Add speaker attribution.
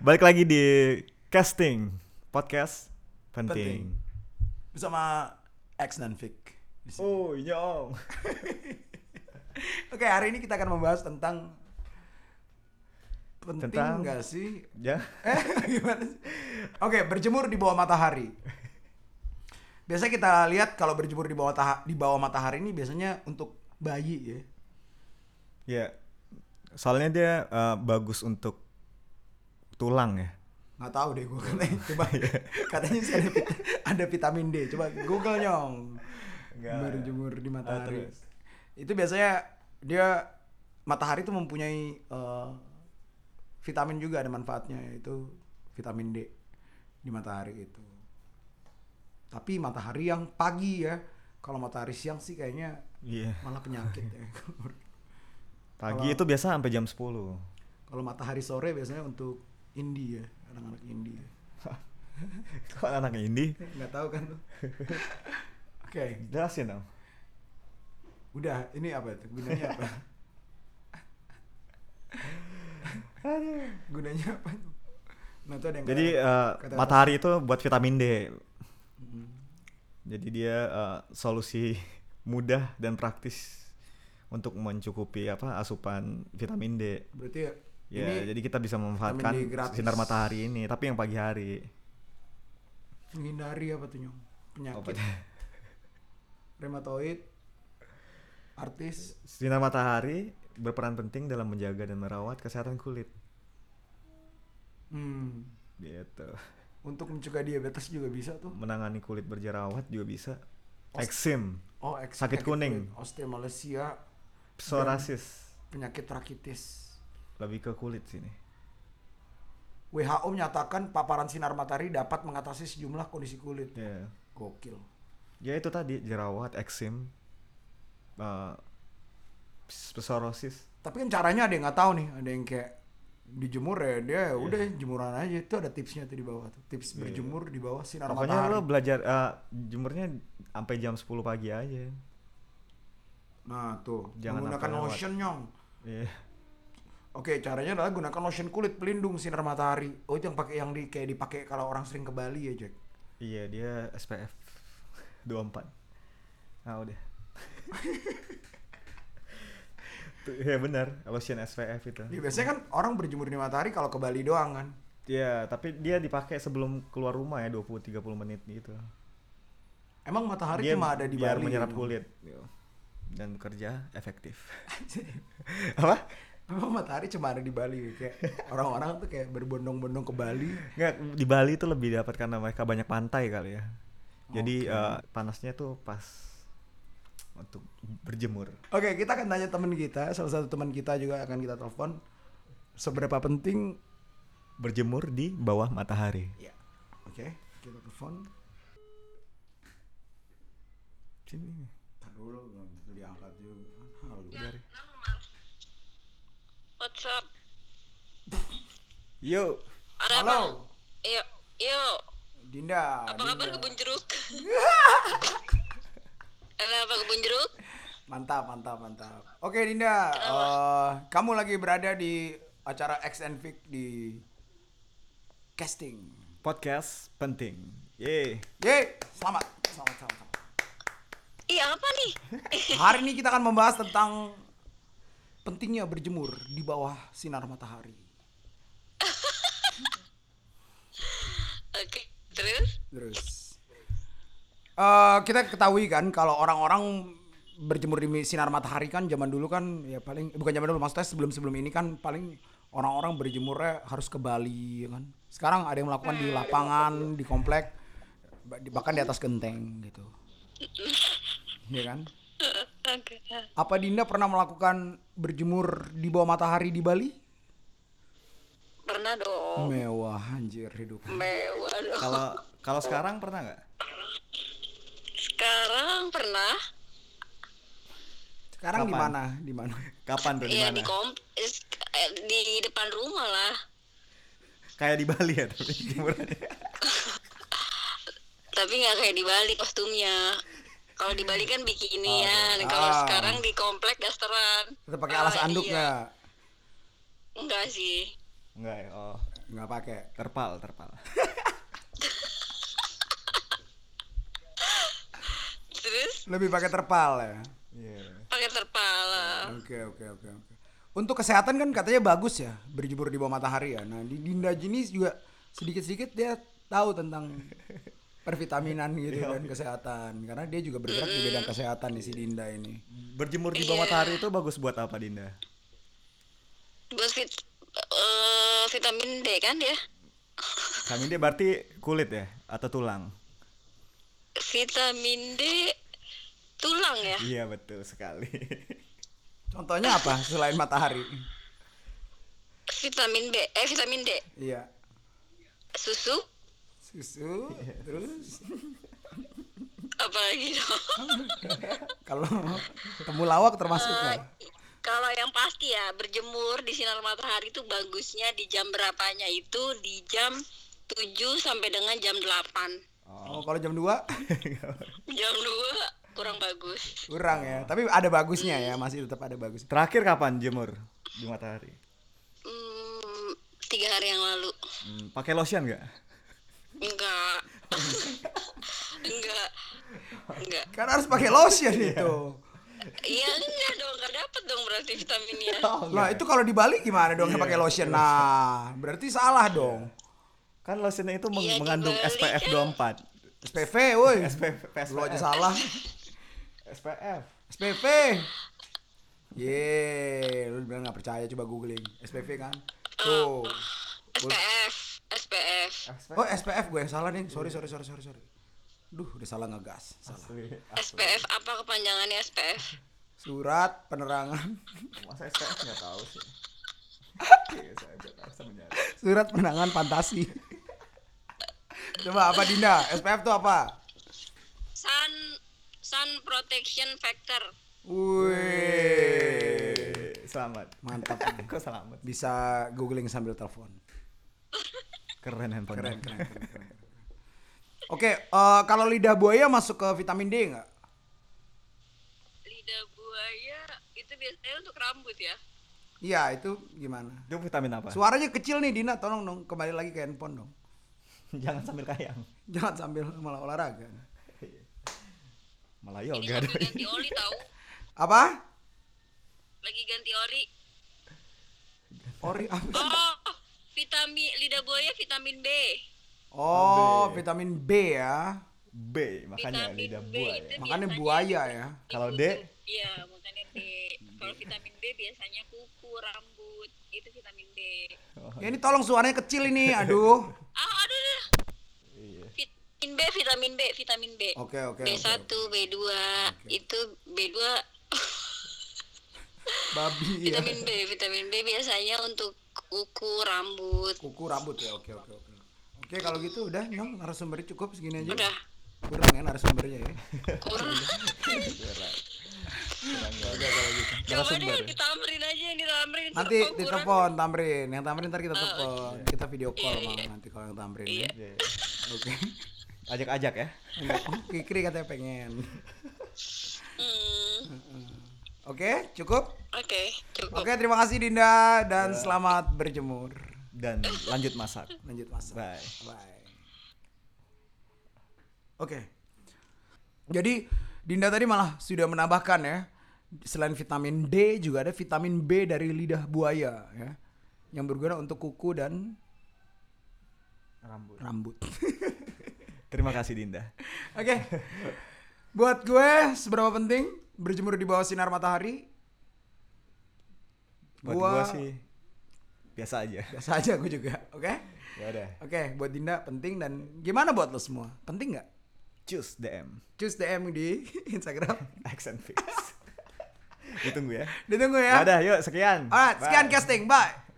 Speaker 1: Balik lagi di casting podcast penting.
Speaker 2: bersama X dan Vic. di sini.
Speaker 1: Oh yo.
Speaker 2: Oke, hari ini kita akan membahas tentang penting
Speaker 1: Tentang-
Speaker 2: nggak sih?
Speaker 1: ya.
Speaker 2: Eh, gimana sih? Oke, berjemur di bawah matahari. Biasanya kita lihat kalau berjemur di bawah taha- di bawah matahari ini biasanya untuk bayi ya.
Speaker 1: Ya. Soalnya dia eh, bagus untuk tulang ya.
Speaker 2: Nggak tahu deh gue katanya. Coba
Speaker 1: Iya.
Speaker 2: katanya sih ada, vit- ada vitamin D. Coba Google nyong.
Speaker 1: Nggak. Ah,
Speaker 2: Berjemur di matahari.
Speaker 1: terus?
Speaker 2: itu biasanya dia matahari itu mempunyai eh, vitamin juga ada manfaatnya yaitu vitamin D di matahari itu. Tapi matahari yang pagi ya. Kalau matahari siang sih kayaknya
Speaker 1: Iya.
Speaker 2: malah penyakit ya.
Speaker 1: Pagi itu biasa sampai jam 10.
Speaker 2: Kalau matahari sore biasanya untuk indie ya, anak-anak indie.
Speaker 1: Kok anak ini
Speaker 2: Nggak tahu kan tuh. Oke.
Speaker 1: jelasin dong.
Speaker 2: Udah, ini apa itu? Gunanya apa? Gunanya apa? tuh? Nah, tuh ada yang
Speaker 1: Jadi
Speaker 2: kayak-
Speaker 1: eh,
Speaker 2: kata-
Speaker 1: matahari itu buat vitamin D.
Speaker 2: Mm.
Speaker 1: Jadi dia eh, solusi mudah dan praktis untuk mencukupi apa asupan vitamin D.
Speaker 2: berarti
Speaker 1: Ya,
Speaker 2: ini
Speaker 1: jadi kita bisa memanfaatkan
Speaker 2: vitamin D gratis.
Speaker 1: sinar matahari ini, tapi yang pagi hari.
Speaker 2: menghindari apa tuh, Nyong? Penyakit
Speaker 1: Apa-
Speaker 2: rheumatoid artis
Speaker 1: sinar matahari berperan penting dalam menjaga dan merawat kesehatan kulit.
Speaker 2: hmm,
Speaker 1: Gitu.
Speaker 2: untuk mencegah diabetes juga bisa tuh.
Speaker 1: Menangani kulit berjerawat juga bisa.
Speaker 2: Ost-
Speaker 1: Eksim,
Speaker 2: Oh, eks-
Speaker 1: Sakit
Speaker 2: penyakit
Speaker 1: kuning.
Speaker 2: kulit, osteomalacia,
Speaker 1: psoriasis,
Speaker 2: penyakit rakitis.
Speaker 1: lebih ke kulit sini.
Speaker 2: WHO menyatakan paparan sinar matahari dapat mengatasi sejumlah kondisi kulit.
Speaker 1: Ya.
Speaker 2: Gokil.
Speaker 1: Ya itu tadi jerawat, eksim, eh, ps- psoriasis.
Speaker 2: tapi kan caranya ada yang nggak tahu nih ada yang kayak dijemur ya dia
Speaker 1: Iya.
Speaker 2: ya udah jemuran aja itu ada tipsnya tuh di bawah tuh tips berjemur di bawah sinar
Speaker 1: Pokoknya
Speaker 2: matahari
Speaker 1: Iya. lo belajar eh, jemurnya sampai jam 10 pagi aja.
Speaker 2: nah tuh
Speaker 1: Jangan
Speaker 2: menggunakan
Speaker 1: sampai lewat.
Speaker 2: lotion nyong
Speaker 1: Iya.
Speaker 2: oke caranya adalah gunakan lotion kulit pelindung sinar matahari oh itu yang pakai yang di kayak dipakai kalau orang sering ke Bali ya Jack
Speaker 1: Iya, dia SPF 24. Ah, udah. Tuh, Iya benar, lotion SPF itu.
Speaker 2: ya, biasanya kan orang berjemur di matahari kalau ke Bali doang kan
Speaker 1: Iya, tapi dia dipakai sebelum keluar rumah ya 20 30 menit gitu.
Speaker 2: emang matahari
Speaker 1: dia
Speaker 2: cuma ada di
Speaker 1: biar
Speaker 2: Bali
Speaker 1: menyerap
Speaker 2: gitu.
Speaker 1: kulit gitu. dan bekerja efektif. Apa?
Speaker 2: emang matahari cuma ada di Bali kayak orang-orang tuh kayak berbondong-bondong ke Bali
Speaker 1: Nggak, di Bali itu lebih dapat karena mereka banyak pantai kali ya. Jadi eh, panasnya tuh pas untuk berjemur.
Speaker 2: Oke, kita akan tanya teman kita, salah satu teman kita juga akan kita telepon. Seberapa penting?
Speaker 1: Berjemur di bawah matahari.
Speaker 2: Ya. Oke, kita telepon.
Speaker 1: Sini.
Speaker 2: Ntar dulu, belum diangkat juga. Ah, Halo, dari.
Speaker 3: What's up?
Speaker 1: Yo.
Speaker 3: Ada
Speaker 2: Halo,
Speaker 3: apa? Yo, yo.
Speaker 2: Dinda.
Speaker 3: Apa kabar
Speaker 2: Dinda.
Speaker 3: kebun jeruk? Ada apa kebun jeruk?
Speaker 2: Mantap, mantap, mantap. Oke, Dinda. eh, kamu lagi berada di acara X and Vic di casting.
Speaker 1: Podcast penting. Yeay.
Speaker 2: Yeay, selamat. Selamat, selamat, selamat.
Speaker 3: Iya apa nih?
Speaker 2: Hari ini kita akan membahas tentang pentingnya berjemur di bawah sinar matahari.
Speaker 3: Oke, terus?
Speaker 2: Terus eh kita ketahui kan kalau orang-orang berjemur di sinar matahari kan zaman dulu kan ya paling bukan zaman dulu maksudnya sebelum-sebelum ini kan paling orang-orang berjemurnya harus ke Bali ya kan. Sekarang ada yang melakukan di lapangan, di komplek ba- di- bahkan di atas genteng gitu. Iya kan?
Speaker 3: Oke. ya.
Speaker 2: Apa Dinda pernah melakukan berjemur di bawah matahari di Bali?
Speaker 3: Pernah dong.
Speaker 2: Mewah anjir hidup.
Speaker 3: Mewah dong.
Speaker 1: Kalau kalau sekarang pernah nggak?
Speaker 3: Sekarang pernah?
Speaker 2: Sekarang di
Speaker 1: Kapan?
Speaker 2: mana? Di mana?
Speaker 1: Kapan tuh di
Speaker 3: Iya
Speaker 1: mana?
Speaker 3: di komp is- eh, di depan rumah lah.
Speaker 1: Kayak di Bali ya tapi jemurannya.
Speaker 3: Tapi nggak kayak di Bali kostumnya. Kalau di Bali kan bikinian, kalau
Speaker 2: Ah.
Speaker 3: sekarang di komplek dasteran.
Speaker 2: Kita pakai alas
Speaker 3: Ah,
Speaker 2: anduk
Speaker 3: iya.
Speaker 2: nggak?
Speaker 3: Enggak sih.
Speaker 1: Enggak ya. Oh.
Speaker 2: nggak pakai.
Speaker 1: Terpal, terpal.
Speaker 3: Terus
Speaker 2: Lebih pakai terpal ya.
Speaker 1: Iya.
Speaker 3: pakai terpal.
Speaker 2: Oke oke oke oke. Untuk kesehatan kan katanya bagus ya berjemur di bawah matahari ya. Nah di Dinda Jini juga sedikit-sedikit dia tahu tentang pervitaminan gitu dan kesehatan karena dia juga bergerak di bidang kesehatan di si Dinda ini.
Speaker 1: Berjemur di
Speaker 3: Iya.
Speaker 1: bawah matahari itu bagus buat apa, Dinda?
Speaker 3: Buat vit, eh, vitamin D kan ya?
Speaker 1: Vitamin D berarti kulit ya atau tulang?
Speaker 3: Vitamin D tulang ya?
Speaker 1: Iya, betul sekali.
Speaker 2: Contohnya apa selain matahari?
Speaker 3: Vitamin B, eh vitamin D,
Speaker 2: Iya
Speaker 3: susu,
Speaker 2: susu terus
Speaker 3: apalagi dong.
Speaker 2: kalau temulawak termasuk ya?
Speaker 3: Kalau yang pasti ya berjemur di sinar matahari itu bagusnya di jam berapanya itu di jam 7 sampai dengan jam 8.
Speaker 2: Oh kalau jam 2
Speaker 3: Jam 2 kurang bagus.
Speaker 2: kurang ya tapi ada bagusnya ya masih tetap ada bagus
Speaker 1: Terakhir kapan jemur di matahari?
Speaker 3: Hmm, tiga hari yang lalu.
Speaker 1: Hmm, pakai lotion nggak?
Speaker 3: Enggak. enggak. Enggak.
Speaker 2: kan harus pakai lotion itu
Speaker 3: Iya enggak dong, enggak dapet dong berarti vitaminnya.
Speaker 2: lah itu kalau dibalik gimana dong yang pakai lotion nah berarti salah dong
Speaker 1: Kan lotionnya itu meng-
Speaker 3: Iya,
Speaker 1: mengandung
Speaker 3: dibeli
Speaker 1: SPF
Speaker 3: kan.
Speaker 1: 24.
Speaker 2: SPV woi
Speaker 1: SPF,
Speaker 2: lu aja salah
Speaker 1: SPF.
Speaker 2: SPV ye lu bilang nggak percaya coba googling SPV kan tuh
Speaker 3: SPF, SPF.
Speaker 2: oh SPF gue yang salah nih sorry sorry sorry sorry sorry duh udah salah ngegas salah
Speaker 3: SPF apa kepanjangannya SPF?
Speaker 2: surat penerangan
Speaker 1: Masa SPF nggak tahu sih? Oke, saya nggak tahu, saya menyadari.
Speaker 2: surat penerangan fantasi coba apa Dinda SPF tuh apa
Speaker 3: Sun Sun Protection Factor.
Speaker 2: Wih,
Speaker 1: Eh, Selamat.
Speaker 2: mantap.
Speaker 1: Kok selamat?
Speaker 2: Bisa googling sambil telepon.
Speaker 1: Keren handphone.
Speaker 2: Keren, keren, keren, keren. Oke, eh, kalau lidah buaya masuk ke vitamin D nggak?
Speaker 3: Lidah buaya itu biasanya untuk rambut ya.
Speaker 2: Iya, itu gimana?
Speaker 1: Itu vitamin apa?
Speaker 2: Suaranya kecil nih Dina, tolong dong kembali lagi ke handphone dong.
Speaker 1: Jangan sambil kayang.
Speaker 2: Jangan sambil malah olahraga.
Speaker 1: Malah
Speaker 3: Ini
Speaker 1: yoga
Speaker 3: sambil
Speaker 1: doi.
Speaker 3: ganti oli tahu.
Speaker 2: Apa?
Speaker 3: Lagi ganti oli.
Speaker 2: Ori apa?
Speaker 3: Oh, vitamin lidah buaya vitamin B.
Speaker 2: Oh, vitamin B ya.
Speaker 1: B, makanya
Speaker 3: Vitamin
Speaker 1: lidah
Speaker 3: B itu
Speaker 1: buaya.
Speaker 2: Makanya
Speaker 3: biasanya
Speaker 2: buaya ya.
Speaker 1: Kalau D,
Speaker 3: Ibu- Iya, makanya D. Kalau vitamin B biasanya kuku, rambut, itu vitamin B.
Speaker 2: Ya ini tolong suaranya kecil ini, aduh.
Speaker 3: Ah, aduh, aduh. Vitamin B, vitamin B, vitamin B.
Speaker 2: Iya. Oke, oke, oke.
Speaker 3: B1, B2, itu B2
Speaker 2: Babi ya.
Speaker 3: vitamin B, vitamin B biasanya untuk kuku, rambut.
Speaker 2: Kuku rambut ya, oke, oke, oke. Oke, kalau gitu udah, nyong narasumbernya cukup segini aja.
Speaker 3: Udah,
Speaker 2: kurang ya narasumbernya ya
Speaker 3: kurang. Coba
Speaker 1: narasumber.
Speaker 3: deh ditamrin aja, ditamrin.
Speaker 2: ya? nanti
Speaker 3: Oh, kurang.
Speaker 2: ditelepon tamrin yang tamrin ntar
Speaker 3: Oh,
Speaker 2: kita telepon
Speaker 3: iya.
Speaker 2: kita video call malah nanti kalau yang tamrin ya.
Speaker 1: Iya, iya.
Speaker 2: oke
Speaker 1: Ajak-ajak ya.
Speaker 2: Oh, kikri katanya pengen
Speaker 3: Hmm,
Speaker 2: oke cukup
Speaker 3: Oke, cukup.
Speaker 2: oke terima kasih dinda dan selamat berjemur
Speaker 1: Dan lanjut masak.
Speaker 2: lanjut masak
Speaker 1: Bye.
Speaker 2: Bye. Oke. Jadi Dinda tadi malah sudah menambahkan ya, selain vitamin D juga ada vitamin B dari lidah buaya ya, yang berguna untuk kuku dan
Speaker 1: Rambut.
Speaker 2: rambut.
Speaker 1: Terima kasih Dinda.
Speaker 2: Oke. Buat gue seberapa penting berjemur di bawah sinar matahari?
Speaker 1: Buat
Speaker 2: Gua-
Speaker 1: gua sih biasa aja.
Speaker 2: Biasa aja gue juga, oke?
Speaker 1: Ya udah.
Speaker 2: Oke, buat Dinda penting dan gimana buat lo semua? Penting nggak?
Speaker 1: Choose DM.
Speaker 2: Cus DM di Instagram.
Speaker 1: Accent fix. Ditunggu ya.
Speaker 2: Ditunggu
Speaker 1: Ya
Speaker 2: ya.
Speaker 1: udah, yuk sekian.
Speaker 2: Alright, sekian
Speaker 1: Bye.
Speaker 2: casting. Bye.